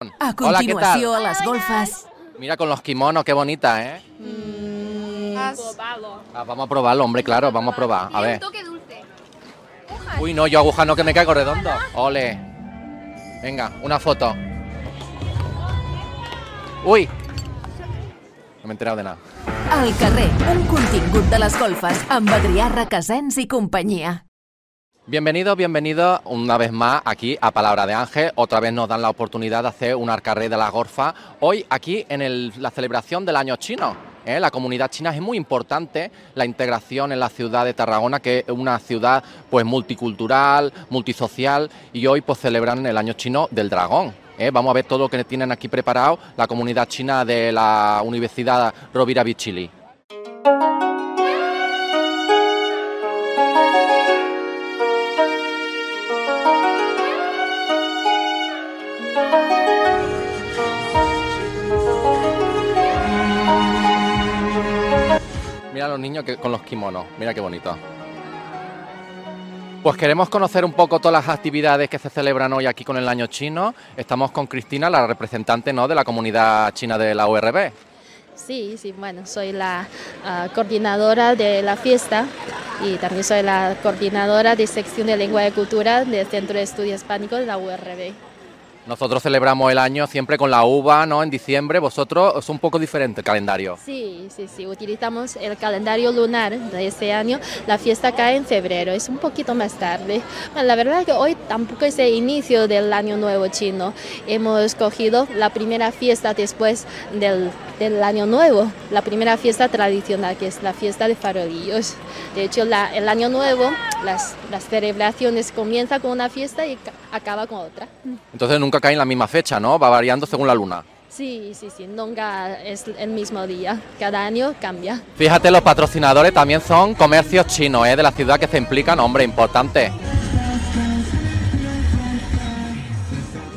A Hola, ¿qué tal? continuació, a les golfes, Mira con los kimonos, qué bonita, ¿eh? Mm. Probado. Ah, vamos a probarlo, hombre, claro, vamos a probar. A Tiene ver. un toque dulce. Uy, no, yo agujano que me caigo redondo. Ole. Venga, una foto. Uy. No me he enterado de nada. al carrer, un contingut de les golfes, amb Adrià Requesens i companyia. Bienvenidos, bienvenidos una vez más aquí a Palabra de Ángel. Otra vez nos dan la oportunidad de hacer un arcarré de la gorfa. Hoy aquí en el- la celebración del año chino. ¿eh? La comunidad china es muy importante, la integración en la ciudad de Tarragona, que es una ciudad pues multicultural, multisocial, y hoy pues celebran el año chino del dragón. ¿eh? Vamos a ver todo lo que tienen aquí preparado la comunidad china de la Universidad Rovira Vichili. Mira a los niños que, con los kimonos, mira qué bonito. Pues queremos conocer un poco todas las actividades que se celebran hoy aquí con el año chino. Estamos con Cristina, la representante ¿no? de la comunidad china de la URB. Sí, sí, bueno, soy la ah, coordinadora de la fiesta y también soy la coordinadora de sección de lengua y cultura del Centro de Estudios Hispánicos de la URB. Nosotros celebramos el año siempre con la uva, ¿no? En diciembre, vosotros es un poco diferente el calendario. Sí, sí, sí, utilizamos el calendario lunar de este año. La fiesta cae en febrero, es un poquito más tarde. Bueno, la verdad es que hoy tampoco es el inicio del año nuevo chino. Hemos cogido la primera fiesta después del, del año nuevo, la primera fiesta tradicional, que es la fiesta de farolillos. De hecho, la- el año nuevo, las, las celebraciones comienzan con una fiesta y ca- acaba con otra. Entonces nunca cae en la misma fecha, ¿no? Va variando según la luna. Sí, sí, sí, nunca es el mismo día, cada año cambia. Fíjate, los patrocinadores también son comercios chinos, ¿eh? De la ciudad que se implican, hombre, importante.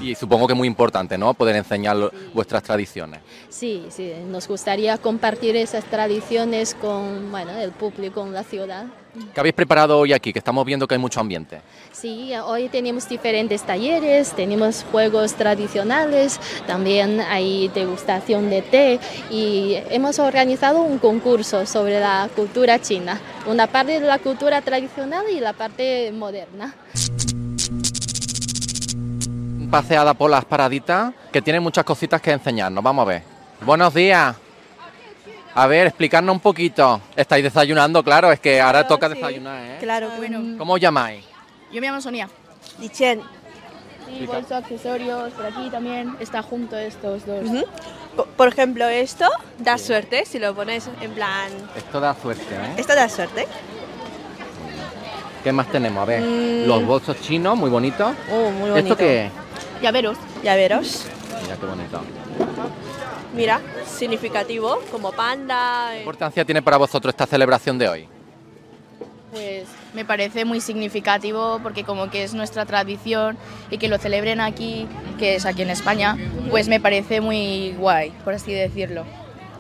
Y supongo que muy importante, ¿no? Poder enseñar lo- vuestras tradiciones. Sí, sí, nos gustaría compartir esas tradiciones con bueno, el público, con la ciudad. ¿Qué habéis preparado hoy aquí? Que estamos viendo que hay mucho ambiente. Sí, hoy tenemos diferentes talleres, tenemos juegos tradicionales, también hay degustación de té y hemos organizado un concurso sobre la cultura china, una parte de la cultura tradicional y la parte moderna. Paseada por las paraditas, que tienen muchas cositas que enseñarnos. Vamos a ver. Buenos días. A ver, explicarnos un poquito. Estáis desayunando, claro, es que ahora toca desayunar, ¿eh? Claro, Ah, bueno. ¿Cómo os llamáis? Yo me llamo Sonia. Dichen, Sí, bolso, accesorios, por aquí también está junto estos dos. ujú. Po- por ejemplo, esto da suerte, si lo pones en plan... Esto da suerte, ¿eh? Esto da suerte. ¿Qué más tenemos? A ver, Mm. los bolsos chinos, muy bonitos. Oh, muy ¿Esto qué es? Llaveros. Llaveros. Mira qué bonito. Mira, significativo, como panda. ¿Qué eh. importancia tiene para vosotros esta celebración de hoy? Pues me parece muy significativo porque como que es nuestra tradición y que lo celebren aquí, que es aquí en España, pues me parece muy guay, por así decirlo.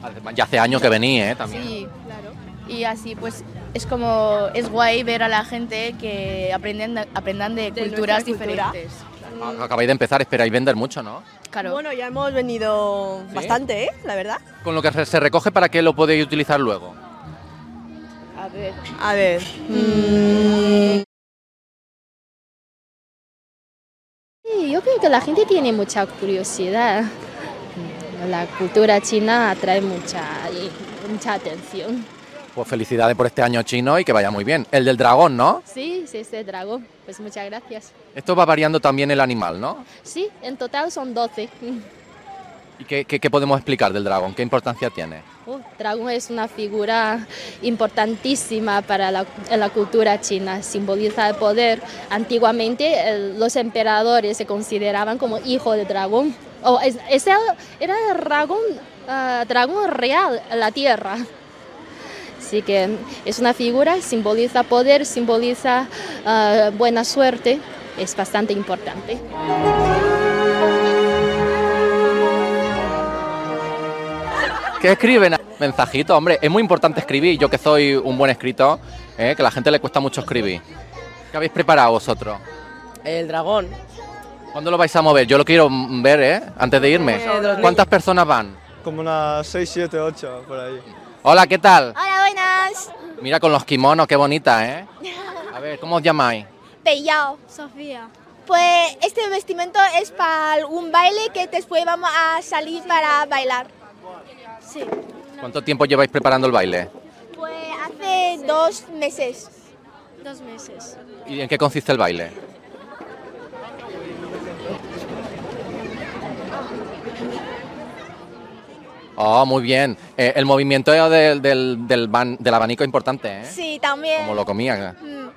Además, Ya hace años que venís, ¿eh? También. Sí, claro. Y así pues es como es guay ver a la gente que aprenden de- aprendan de, De culturas nuestra cultura. diferentes. Ac- Acabáis de empezar, esperáis vender mucho, ¿no? Claro. Bueno, ya hemos venido ¿Sí? bastante, ¿eh? La verdad. Con lo que re- se recoge para que lo podéis utilizar luego. a ver. A ver. Mm. Sí, yo creo que la gente tiene mucha curiosidad. La cultura china atrae mucha, mucha atención. Pues felicidades por este año chino y que vaya muy bien. El del dragón, ¿no? Sí, sí, este dragón. Pues muchas gracias. Esto va variando también el animal, ¿no? Sí, en total son 12. ¿Y qué, qué- qué podemos explicar del dragón? ¿Qué importancia tiene? Uh, dragón es una figura importantísima para la, en la cultura china. Simboliza el poder. Antiguamente eh, los emperadores se consideraban como hijo de dragón. O es- es el- era el dragón, ah, dragón real en la tierra. Así que es una figura, simboliza poder, simboliza ah, buena suerte. Es bastante importante. ¿Qué escriben? Mensajito, hombre, es muy importante escribir. Yo que soy un buen escritor, ¿eh? que a la gente le cuesta mucho escribir. ¿Qué habéis preparado vosotros? El dragón. ¿Cuándo lo vais a mover? Yo lo quiero mm, ver, ¿eh? Antes de irme. ¿Cuántas personas van? Como unas 6, 7, 8 por ahí. Hola, ¿qué tal? Hola, buenas. Mira con los kimonos, qué bonita, ¿eh? A ver, ¿cómo os llamáis? Pellao. Sofía. Pues este vestimento es para un baile que después vamos a salir para bailar. Eh, Sí. ¿Cuánto tiempo lleváis preparando el baile? Pues hace dos meses. Dos meses. ¿Y en qué consiste el baile? Oh, muy bien. Eh, el movimiento del, del, del ban- del abanico es importante, ¿eh? Sí, también. Como lo comía. Mm,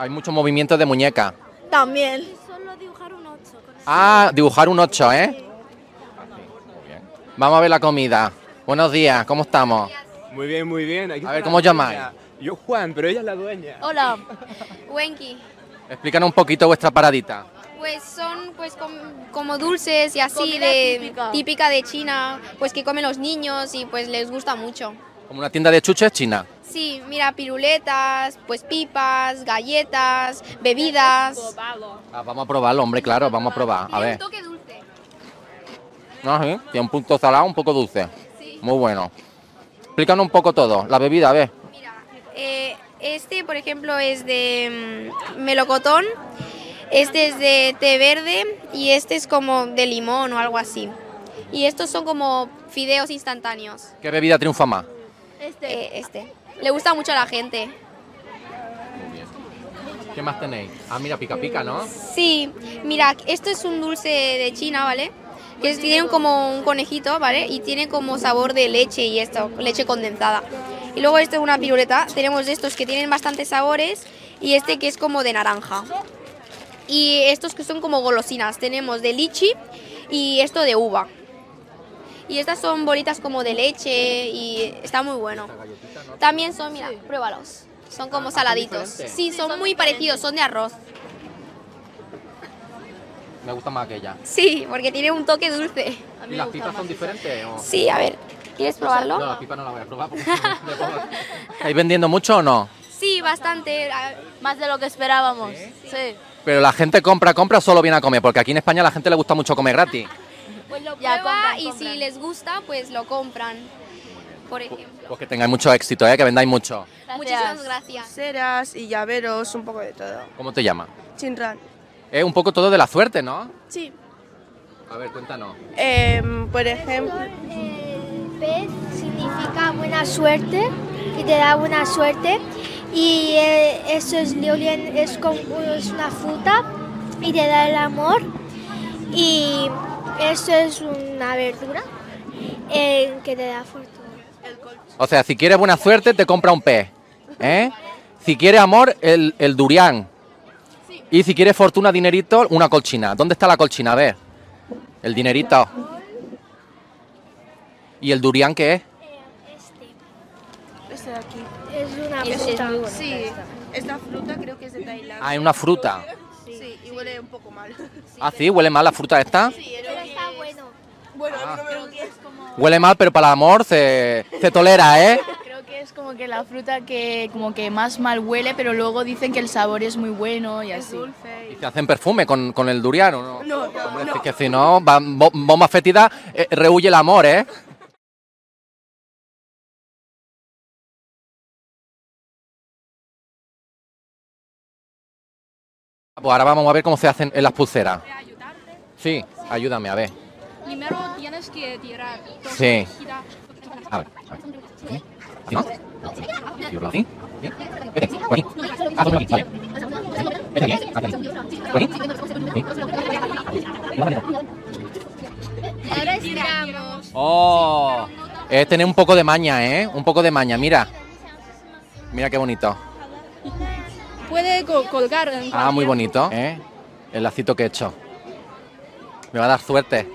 Hay muchos movimientos de muñeca. También. Solo dibujar un 8. Ah, dibujar un 8, ¿eh? Vamos a ver la comida. Buenos días, ¿cómo estamos? Muy bien, muy bien. Aquí A está ver, la ¿cómo os llamáis? dueña. Yo Juan, pero ella es la dueña. Hola, Wenki. Explícanos un poquito vuestra paradita. Pues son pues com- como dulces y así Comida de típica. de China, pues que comen los niños y pues les gusta mucho. Como una tienda de chuches china. Sí, mira, piruletas, pues pipas, galletas, bebidas. Ah, vamos a probarlo, hombre, claro, vamos a probar. A ver. Toque dulce. No, sí, tiene un punto salado, un poco dulce. Muy bueno. Explícanos un poco todo. La bebida, a ver. Eh, este, por ejemplo, es de mm, melocotón, este es de té verde y este es como de limón o algo así. Y estos son como fideos instantáneos. ¿Qué bebida triunfa más? Este. este. Le gusta mucho a la gente. ¿Qué más tenéis? Ah, mira, pica pica, ¿no? Sí, mira, esto es un dulce de China, ¿vale? Que es- tienen como un conejito, ¿vale? Y tiene como sabor de leche y esto, leche condensada. Y luego esto es una piruleta. Tenemos estos que tienen bastantes sabores y este que es como de naranja. Y estos que son como golosinas. Tenemos de lichi y esto de uva. Y estas son bolitas como de leche y está muy bueno. También son, mira, pruébalos. Son como saladitos. Ah, diferentes. Sí, son muy parecidos, son de arroz. Me gusta más aquella. Sí, porque tiene un toque dulce. ¿Y las pipas son diferentes? o- Sí, a ver. ¿Quieres probarlo? No, las pipas no las voy a probar. porque- ¿Estáis vendiendo mucho o no? Sí, bastante. a- Más de lo que esperábamos. Sí. Pero la gente compra, compra o solo viene a comer, porque aquí en España a la gente le gusta mucho comer gratis. Pues lo Ya, prueba compran, y si compran. les gusta, pues lo compran. Por ejemplo. Pues que tengáis mucho éxito, ¿eh? que vendáis mucho. Muchísimas gracias. Ceras y llaveros, un poco de todo. ¿Cómo te llamas? Chinran. Es un poco todo de la suerte, ¿no? Sí. A ver, cuéntanos. por ejemplo, Pez significa buena suerte y te da buena suerte. Y eh, eso es Liolien, es, con- es una fruta y te da el amor. Y eso es una verdura eh, que te da fortuna. O sea, si quieres buena suerte, te compra un pez. ¿eh? Si quieres amor, el, el durián. Y si quieres fortuna, dinerito, una colchina. ¿Dónde está la colchina? A ver. El dinerito. ¿Y el durián qué es? este de aquí. Es una fruta. Sí, esta fruta creo que es de Tailandia. Ah, es una fruta. Sí, y huele un poco mal. Ah, sí, huele mal la fruta esta. Pero está bueno. Bueno, Ah. no me gusta. Huele mal, pero para el amor se, se tolera, ¿eh? Creo que es como que la fruta que como que más mal huele, pero luego dicen que el sabor es muy bueno y así. Y se hacen perfume con, con el durián, ¿o no? No, no, Hombre, es que si no, va- bo- bomba fétida eh, rehuye el amor, ¿eh? Pues ahora vamos a ver cómo se hacen en las pulseras. Sí, ayúdame, a ver. Primero tienes que tirar dos Sí. giras. A ver, a ver. ¿Sí? ¿Sí, no? ¿Sí, verdad? ¿Sí? ¿Sí? Vete, por aquí. Ah, por aquí, vale. Vete aquí, vete aquí. Por aquí. Sí. Ahora estiramos. ¡Oh! Es tener un poco de maña, ¿eh? Un poco de maña, mira. Mira qué bonito. Puede co- colgar en Ah, muy cualquier- bonito. ¿eh? El lacito que he hecho. Me va a dar suerte.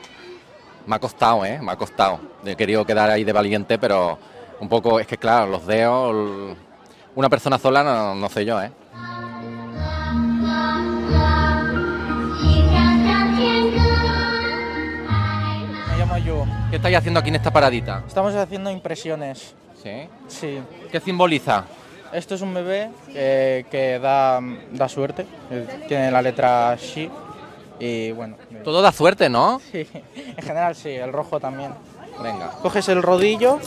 Me ha costado, ¿eh? Me ha costado. He querido quedar ahí de valiente, pero un poco, es que claro, los dedos... l- Una persona sola, no, no sé yo, ¿eh? Me llamo Yu. ¿Qué estáis haciendo aquí en esta paradita? Estamos haciendo impresiones. ¿Sí? Sí. ¿Qué simboliza? Esto es un bebé eh, que da, da suerte. Eh, Tiene la letra Shi Y bueno. me- Todo da suerte, ¿no? Sí, en general sí, el rojo también. Venga. Coges el rodillo,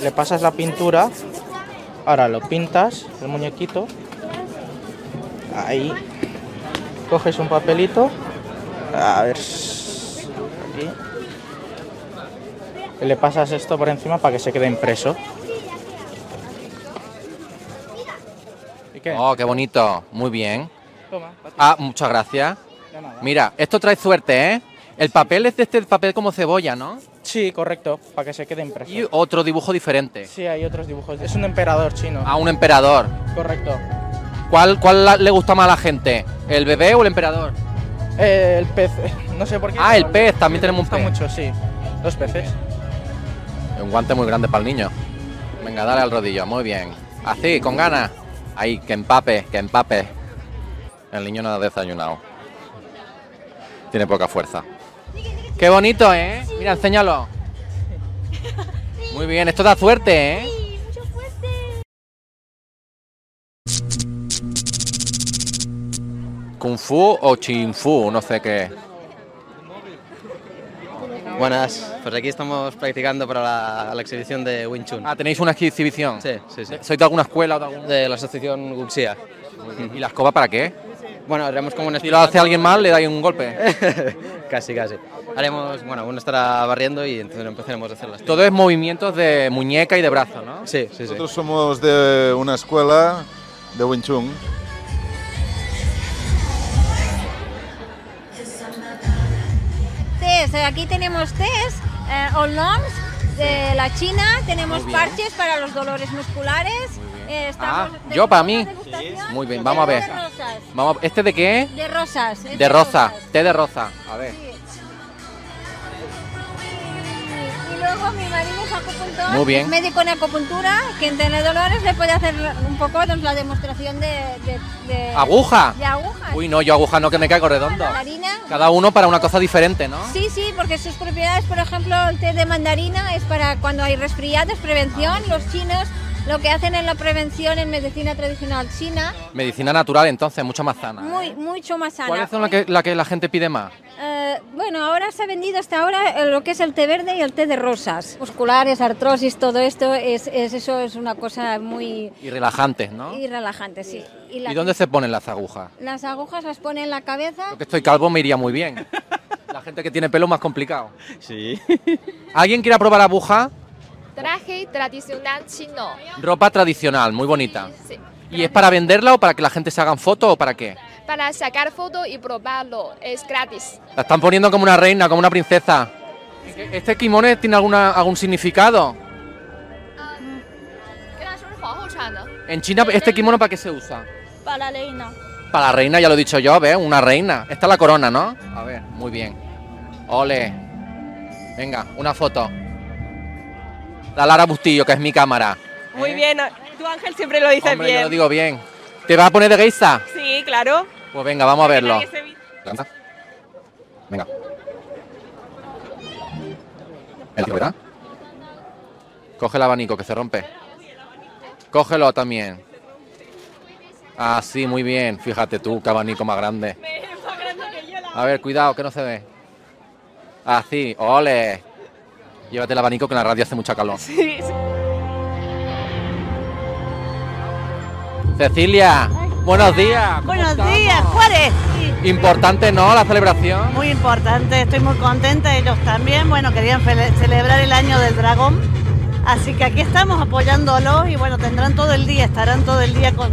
le pasas la pintura, ahora lo pintas, el muñequito. Ahí. Coges un papelito. A ver. s- Aquí. Y le pasas esto por encima para que se quede impreso. Oh, qué bonito. Muy bien. Toma. Ah, muchas gracias. De nada. Mira, esto trae suerte, ¿eh? El papel es de este papel como cebolla, ¿no? Sí, correcto, para que se quede impreso. Y otro dibujo diferente. Sí, hay otros dibujos. Es un emperador chino. A un emperador. Correcto. ¿Cuál, cuál la- le gusta más a la gente? ¿El bebé o el emperador? Eh, el pez. No sé por qué. Ah, el pez, también tenemos un gusta pez. mucho, sí. Los peces. Un guante muy grande para el niño. Venga, dale al rodillo, muy bien. Así, con ganas. Ahí, que empape, que empape. El niño no ha desayunado. Tiene poca fuerza. Qué bonito, ¿eh? Mira, enséñalo. Muy bien, esto da suerte, ¿eh? Kung Fu o Chin Fu, no sé qué. Buenas, pues aquí estamos practicando para la, la exhibición de Wing Chun. Ah, ¿tenéis una exhibición? Sí, sí, sí. ¿Sois de alguna escuela o de algún...? De la asociación Guxia. ¿Y la escoba para qué? Bueno, haremos como un Si lo hace alguien mal, le dais un golpe. casi, casi. Haremos, bueno, uno estará barriendo y entonces empezaremos a hacer las Todo es movimientos de muñeca y de brazo, ¿no? Sí, sí, sí. Nosotros somos de una escuela de Wing Chun. Test, eh, aquí tenemos test eh, o LOMS de la China, tenemos Muy bien. parches para los dolores musculares. eh, Ah, estamos yo para mí. Muy bien, vamos a ver. de rosas. Vamos, ¿Este de qué es? De rosas. es De rosa, té de rosa. A ver. Y luego mi marido es acupuntor, Muy bien. es médico en acupuntura, que en tiene dolores le puede hacer un poco doncs, la demostración de, de- de- ¿Aguja? De agujas. Uy, no, yo aguja no que me caigo redondo. Mandarina. Cada uno para una cosa diferente, ¿no? Sí, sí, porque sus propiedades, por ejemplo, el té de mandarina es para cuando hay resfriados, prevención. Ah. Los chinos lo que hacen en la prevención en medicina tradicional china, Medicina natural, entonces, mucho más sana. muy, mucho más sana. ¿Cuál es la que, la que la gente pide más? Eh, bueno, ahora se ha vendido hasta ahora eh, lo que es el té verde y el té de rosas. Musculares, artrosis, todo esto, es, es- eso es una cosa muy... Y relajantes, ¿no? Y relajante, sí. ¿Y, la- ¿Y dónde se ponen las agujas? Las agujas las pone en la cabeza. Que estoy calvo me iría muy bien. La gente que tiene pelo más complicado. Sí. ¿Alguien quiere probar aguja? Traje tradicional chino. Ropa tradicional, muy bonita. Sí. ¿Y es para venderla o para que la gente se hagan fotos o para qué? Para sacar foto y probarlo. Es gratis. La están poniendo como una reina, como una princesa. ¿Este kimono tiene alguna, algún significado? Ah. En China, ¿este kimono para qué se usa? Para la reina. Para la reina, ya lo he dicho yo, ¿ves? Una reina. Esta es la corona, ¿no? A ver, muy bien. Ole. Venga, una foto. La Lara Bustillo, que es mi cámara. Muy bien, tú Ángel siempre lo dices ¿Eh? Hombre, bien. yo lo digo bien. ¿Te vas a poner de geisa? Sí, claro. Pues venga, vamos a verlo. Nadie se vi- Lanza. Venga. El tío, ¿verdad? Coge el abanico que se rompe. Cógelo también. Ah, sí, muy bien. Fíjate tú, qué abanico más grande. A ver, cuidado, que no se ve. Así, ole. Llévate el abanico que en la radio hace mucha calor. Sí, sí. Cecilia, buenos días. Buenos días, Juárez. Importante, ¿no? La celebración. Muy importante, estoy muy contenta, ellos también. Bueno, querían fele- celebrar el año del dragón. Así que aquí estamos apoyándolos y bueno, tendrán todo el día, estarán todo el día con,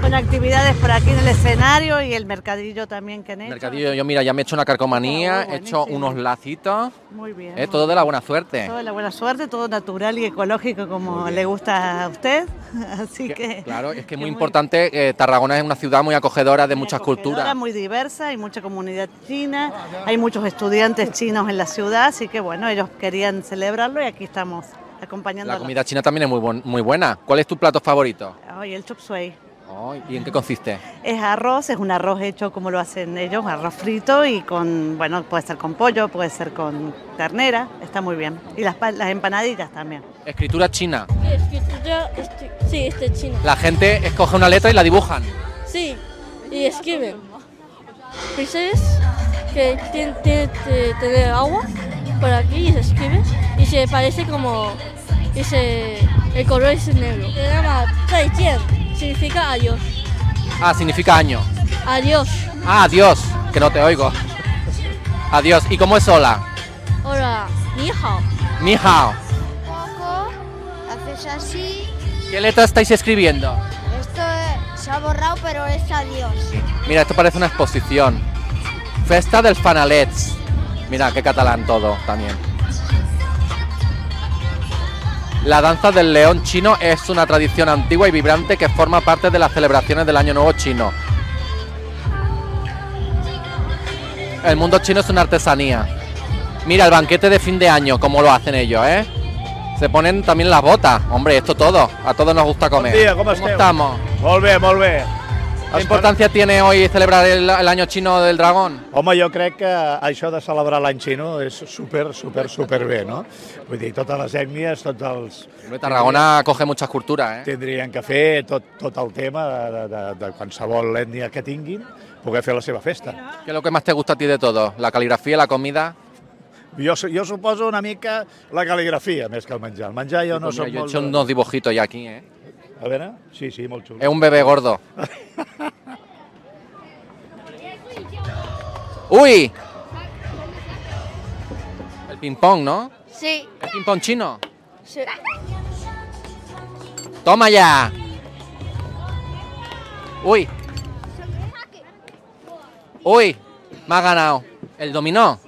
con actividades por aquí en el escenario y el mercadillo también que han hecho. Mercadillo, yo mira, ya me he hecho una carcomanía, he hecho unos lacitos. Muy bien. Es Eh, todo de la buena suerte. Toda la buena suerte, todo natural y ecológico como le gusta a usted. Así que... Claro, es que es muy importante. eh, Tarragona es una ciudad muy acogedora de muchas acogedora, culturas. muy diversa, hay mucha comunidad china, hay muchos estudiantes chinos en la ciudad, así que bueno, ellos querían celebrarlo y aquí estamos La acompañándolos. comida china también es muy, buen- muy buena. ¿Cuál es tu plato favorito? Ay, el chop suey. Ay, ¿Y en qué consiste? Es arroz, es un arroz hecho como lo hacen ellos, arroz frito y con, bueno, puede ser con pollo, puede ser con ternera, está muy bien. Y las, pa- las empanadillas también. Escritura china. Es que yo estoy, sí, este chino. La gente escoge una letra y la dibujan. Sí, y escribe. Princess que tiene que tener agua por aquí y se escribe y se parece como y se, el color es negro. Se llama Zaijian, significa adiós. Ah, significa año. Adiós. Ah, adiós, que no te oigo. Adiós. ¿Y cómo es hola? Hola, ni hao. Ni hao. Poco, haces así. ¿Qué letra estáis escribiendo? Esto eh, se ha borrado, pero es adiós. Mira, esto parece una exposición. Festa del Fanalets. Mira, qué catalán todo también. La danza del león chino es una tradición antigua y vibrante que forma parte de las celebraciones del Año Nuevo chino. El mundo chino es una artesanía. Mira el banquete de fin de año, como lo hacen ellos, ¿eh? Se ponen también las botas. Hombre, esto todo. A todos nos gusta comer. dia, com esteu? estamos? Molt bé, molt bé. ¿Qué importancia tiene hoy celebrar el, el año chino del dragón? Home, jo crec que això de celebrar l'any xino és super, super, super bé, no? Vull dir, totes les ètnies, tots els... Tarragona coge muchas culturas, ¿eh? Tindrien que fer tot, tot el tema de, de, de, de qualsevol ètnia que tinguin, poder fer la seva festa. ¿Qué es lo que más te gusta a ti de todo? ¿La caligrafía, la comida? Jo, su- jo suposo una mica la caligrafia, més que el menjar. El menjar jo no Pues mira, soc yo he molt... hecho unos dibujitos ya aquí, ¿eh? de- A veure? Sí, sí, molt xulo. Es un bebé gordo. ¡Uy! El ping-pong, ¿no? Sí. ¿El ping-pong chino? sí. ¡Toma ya! ¡Uy! ¡Uy! Me ha ganado. ¿El dominó?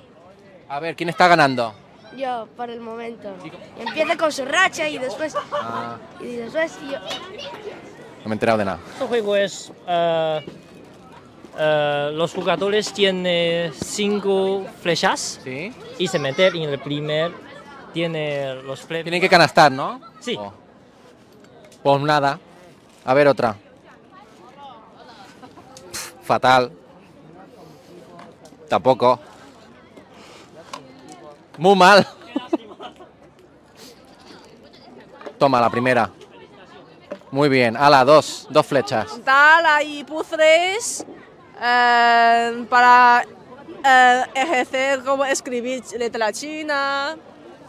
A ver, ¿quién está ganando? Yo, por el momento. Empieza con su racha y después. Y después yo. No me he enterado de nada. Este juego es. eh, eh, los jugadores tienen cinco flechas y se meter en el primer. Tiene los premios. Tienen que canastar, ¿no? Oh. Sí. Pues nada. A ver, otra. Pff, Fatal. Tampoco. Muy mal. Toma, la primera. Muy bien. Ala, dos. Dos flechas. Tal, hay puzzles eh, para eh, ejercer como escribir letra china.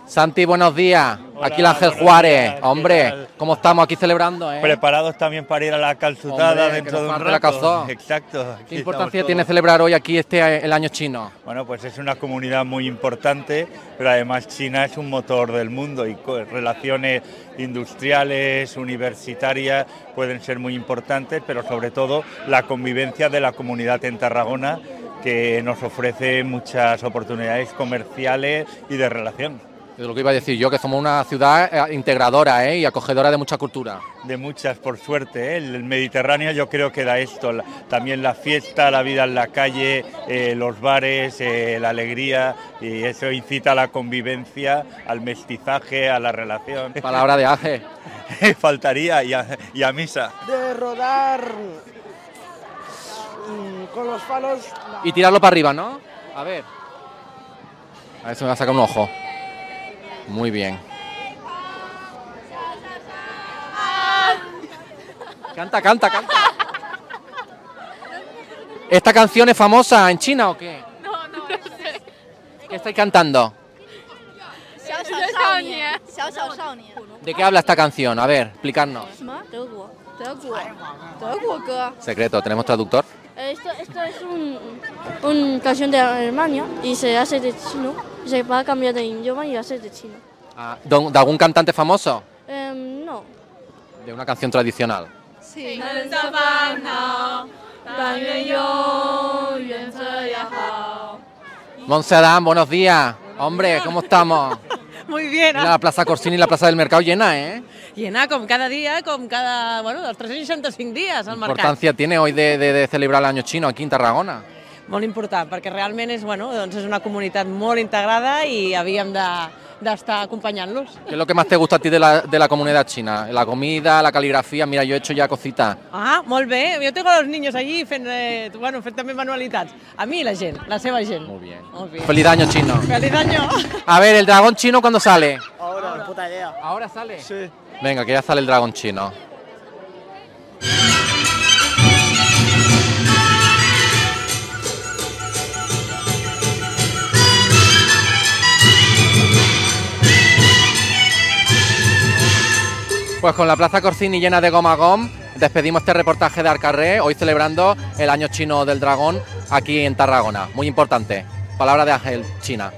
Santi, buenos días. Aquí el Ángel buenos Juárez. días, ¿qué Hombre, ¿cómo estamos aquí celebrando, eh? Preparados también para ir a la calzutada Hombre, que dentro nos de un falte la rato. calzó. Exacto. aquí ¿Qué estamos importancia todos. tiene celebrar hoy aquí este el año chino? Bueno, pues es una comunidad muy importante, pero además China es un motor del mundo y co- relaciones industriales, universitarias pueden ser muy importantes, pero sobre todo la convivencia de la comunidad en Tarragona que nos ofrece muchas oportunidades comerciales y de relación. Es lo que iba a decir yo, que somos una ciudad eh, integradora ¿eh? y acogedora de mucha cultura. de muchas, por suerte. ¿eh? El Mediterráneo yo creo que da esto, la- también la fiesta, la vida en la calle, eh, los bares, eh, la alegría, y eso incita a la convivencia, al mestizaje, a la relación. Palabra de Aje. Faltaría, y a, y a misa. de rodar mm, con los palos. Y tirarlo para arriba, ¿no? A ver. A ver si me va a sacar un ojo. Muy bien. Canta, canta, canta. ¿Esta canción es famosa en China o qué? No, no, no sé. ¿Qué estáis cantando? ¿De qué habla esta canción? A ver, explicarnos. 什么？德国。德国，德国歌。 Secreto, ¿tenemos traductor? Esto, esto es un, un canción de Alemania y se hace de chino. Se va a cambiar de idioma y hace de chino. Ah, ¿De de algún cantante famoso? Em, no. De una canción tradicional. 请忍下烦恼，但愿永远这样好。 Monsedán, buenos días. Hombre, ¿cómo estamos? Muy bien. Mira la Plaza Corsini y la Plaza del Mercado llena, ¿eh? Llena com cada dia, com cada, bueno, dels 365 dies al mercat. importancia tiene hoy de, de- de celebrar el año chino aquí en Tarragona? Molt important, perquè realment és, bueno, doncs és una comunitat molt integrada i havíem de- d'estar de, acompanyant-los. ¿Qué es lo que más te gusta a ti de la, de la comunidad china? La comida, la caligrafía. Mira, yo he hecho ya cositas. Ah, molt bé. Jo tengo els niños allí fent, eh, bueno, fent també manualitats. A mi i la gent, la seva gent. Molt bé. Molt bé. Feliz año chino. Feliz año. A ver, ¿el dragón chino cuándo sale? Ahora, puta idea. ¿Ahora sale? Sí. Venga, que ya sale el dragón chino. Pues con la Plaza Corsini llena de goma gom, despedimos este reportaje de Alcarré, hoy celebrando el año chino del dragón aquí en Tarragona. Muy importante. Palabra de Ángel China.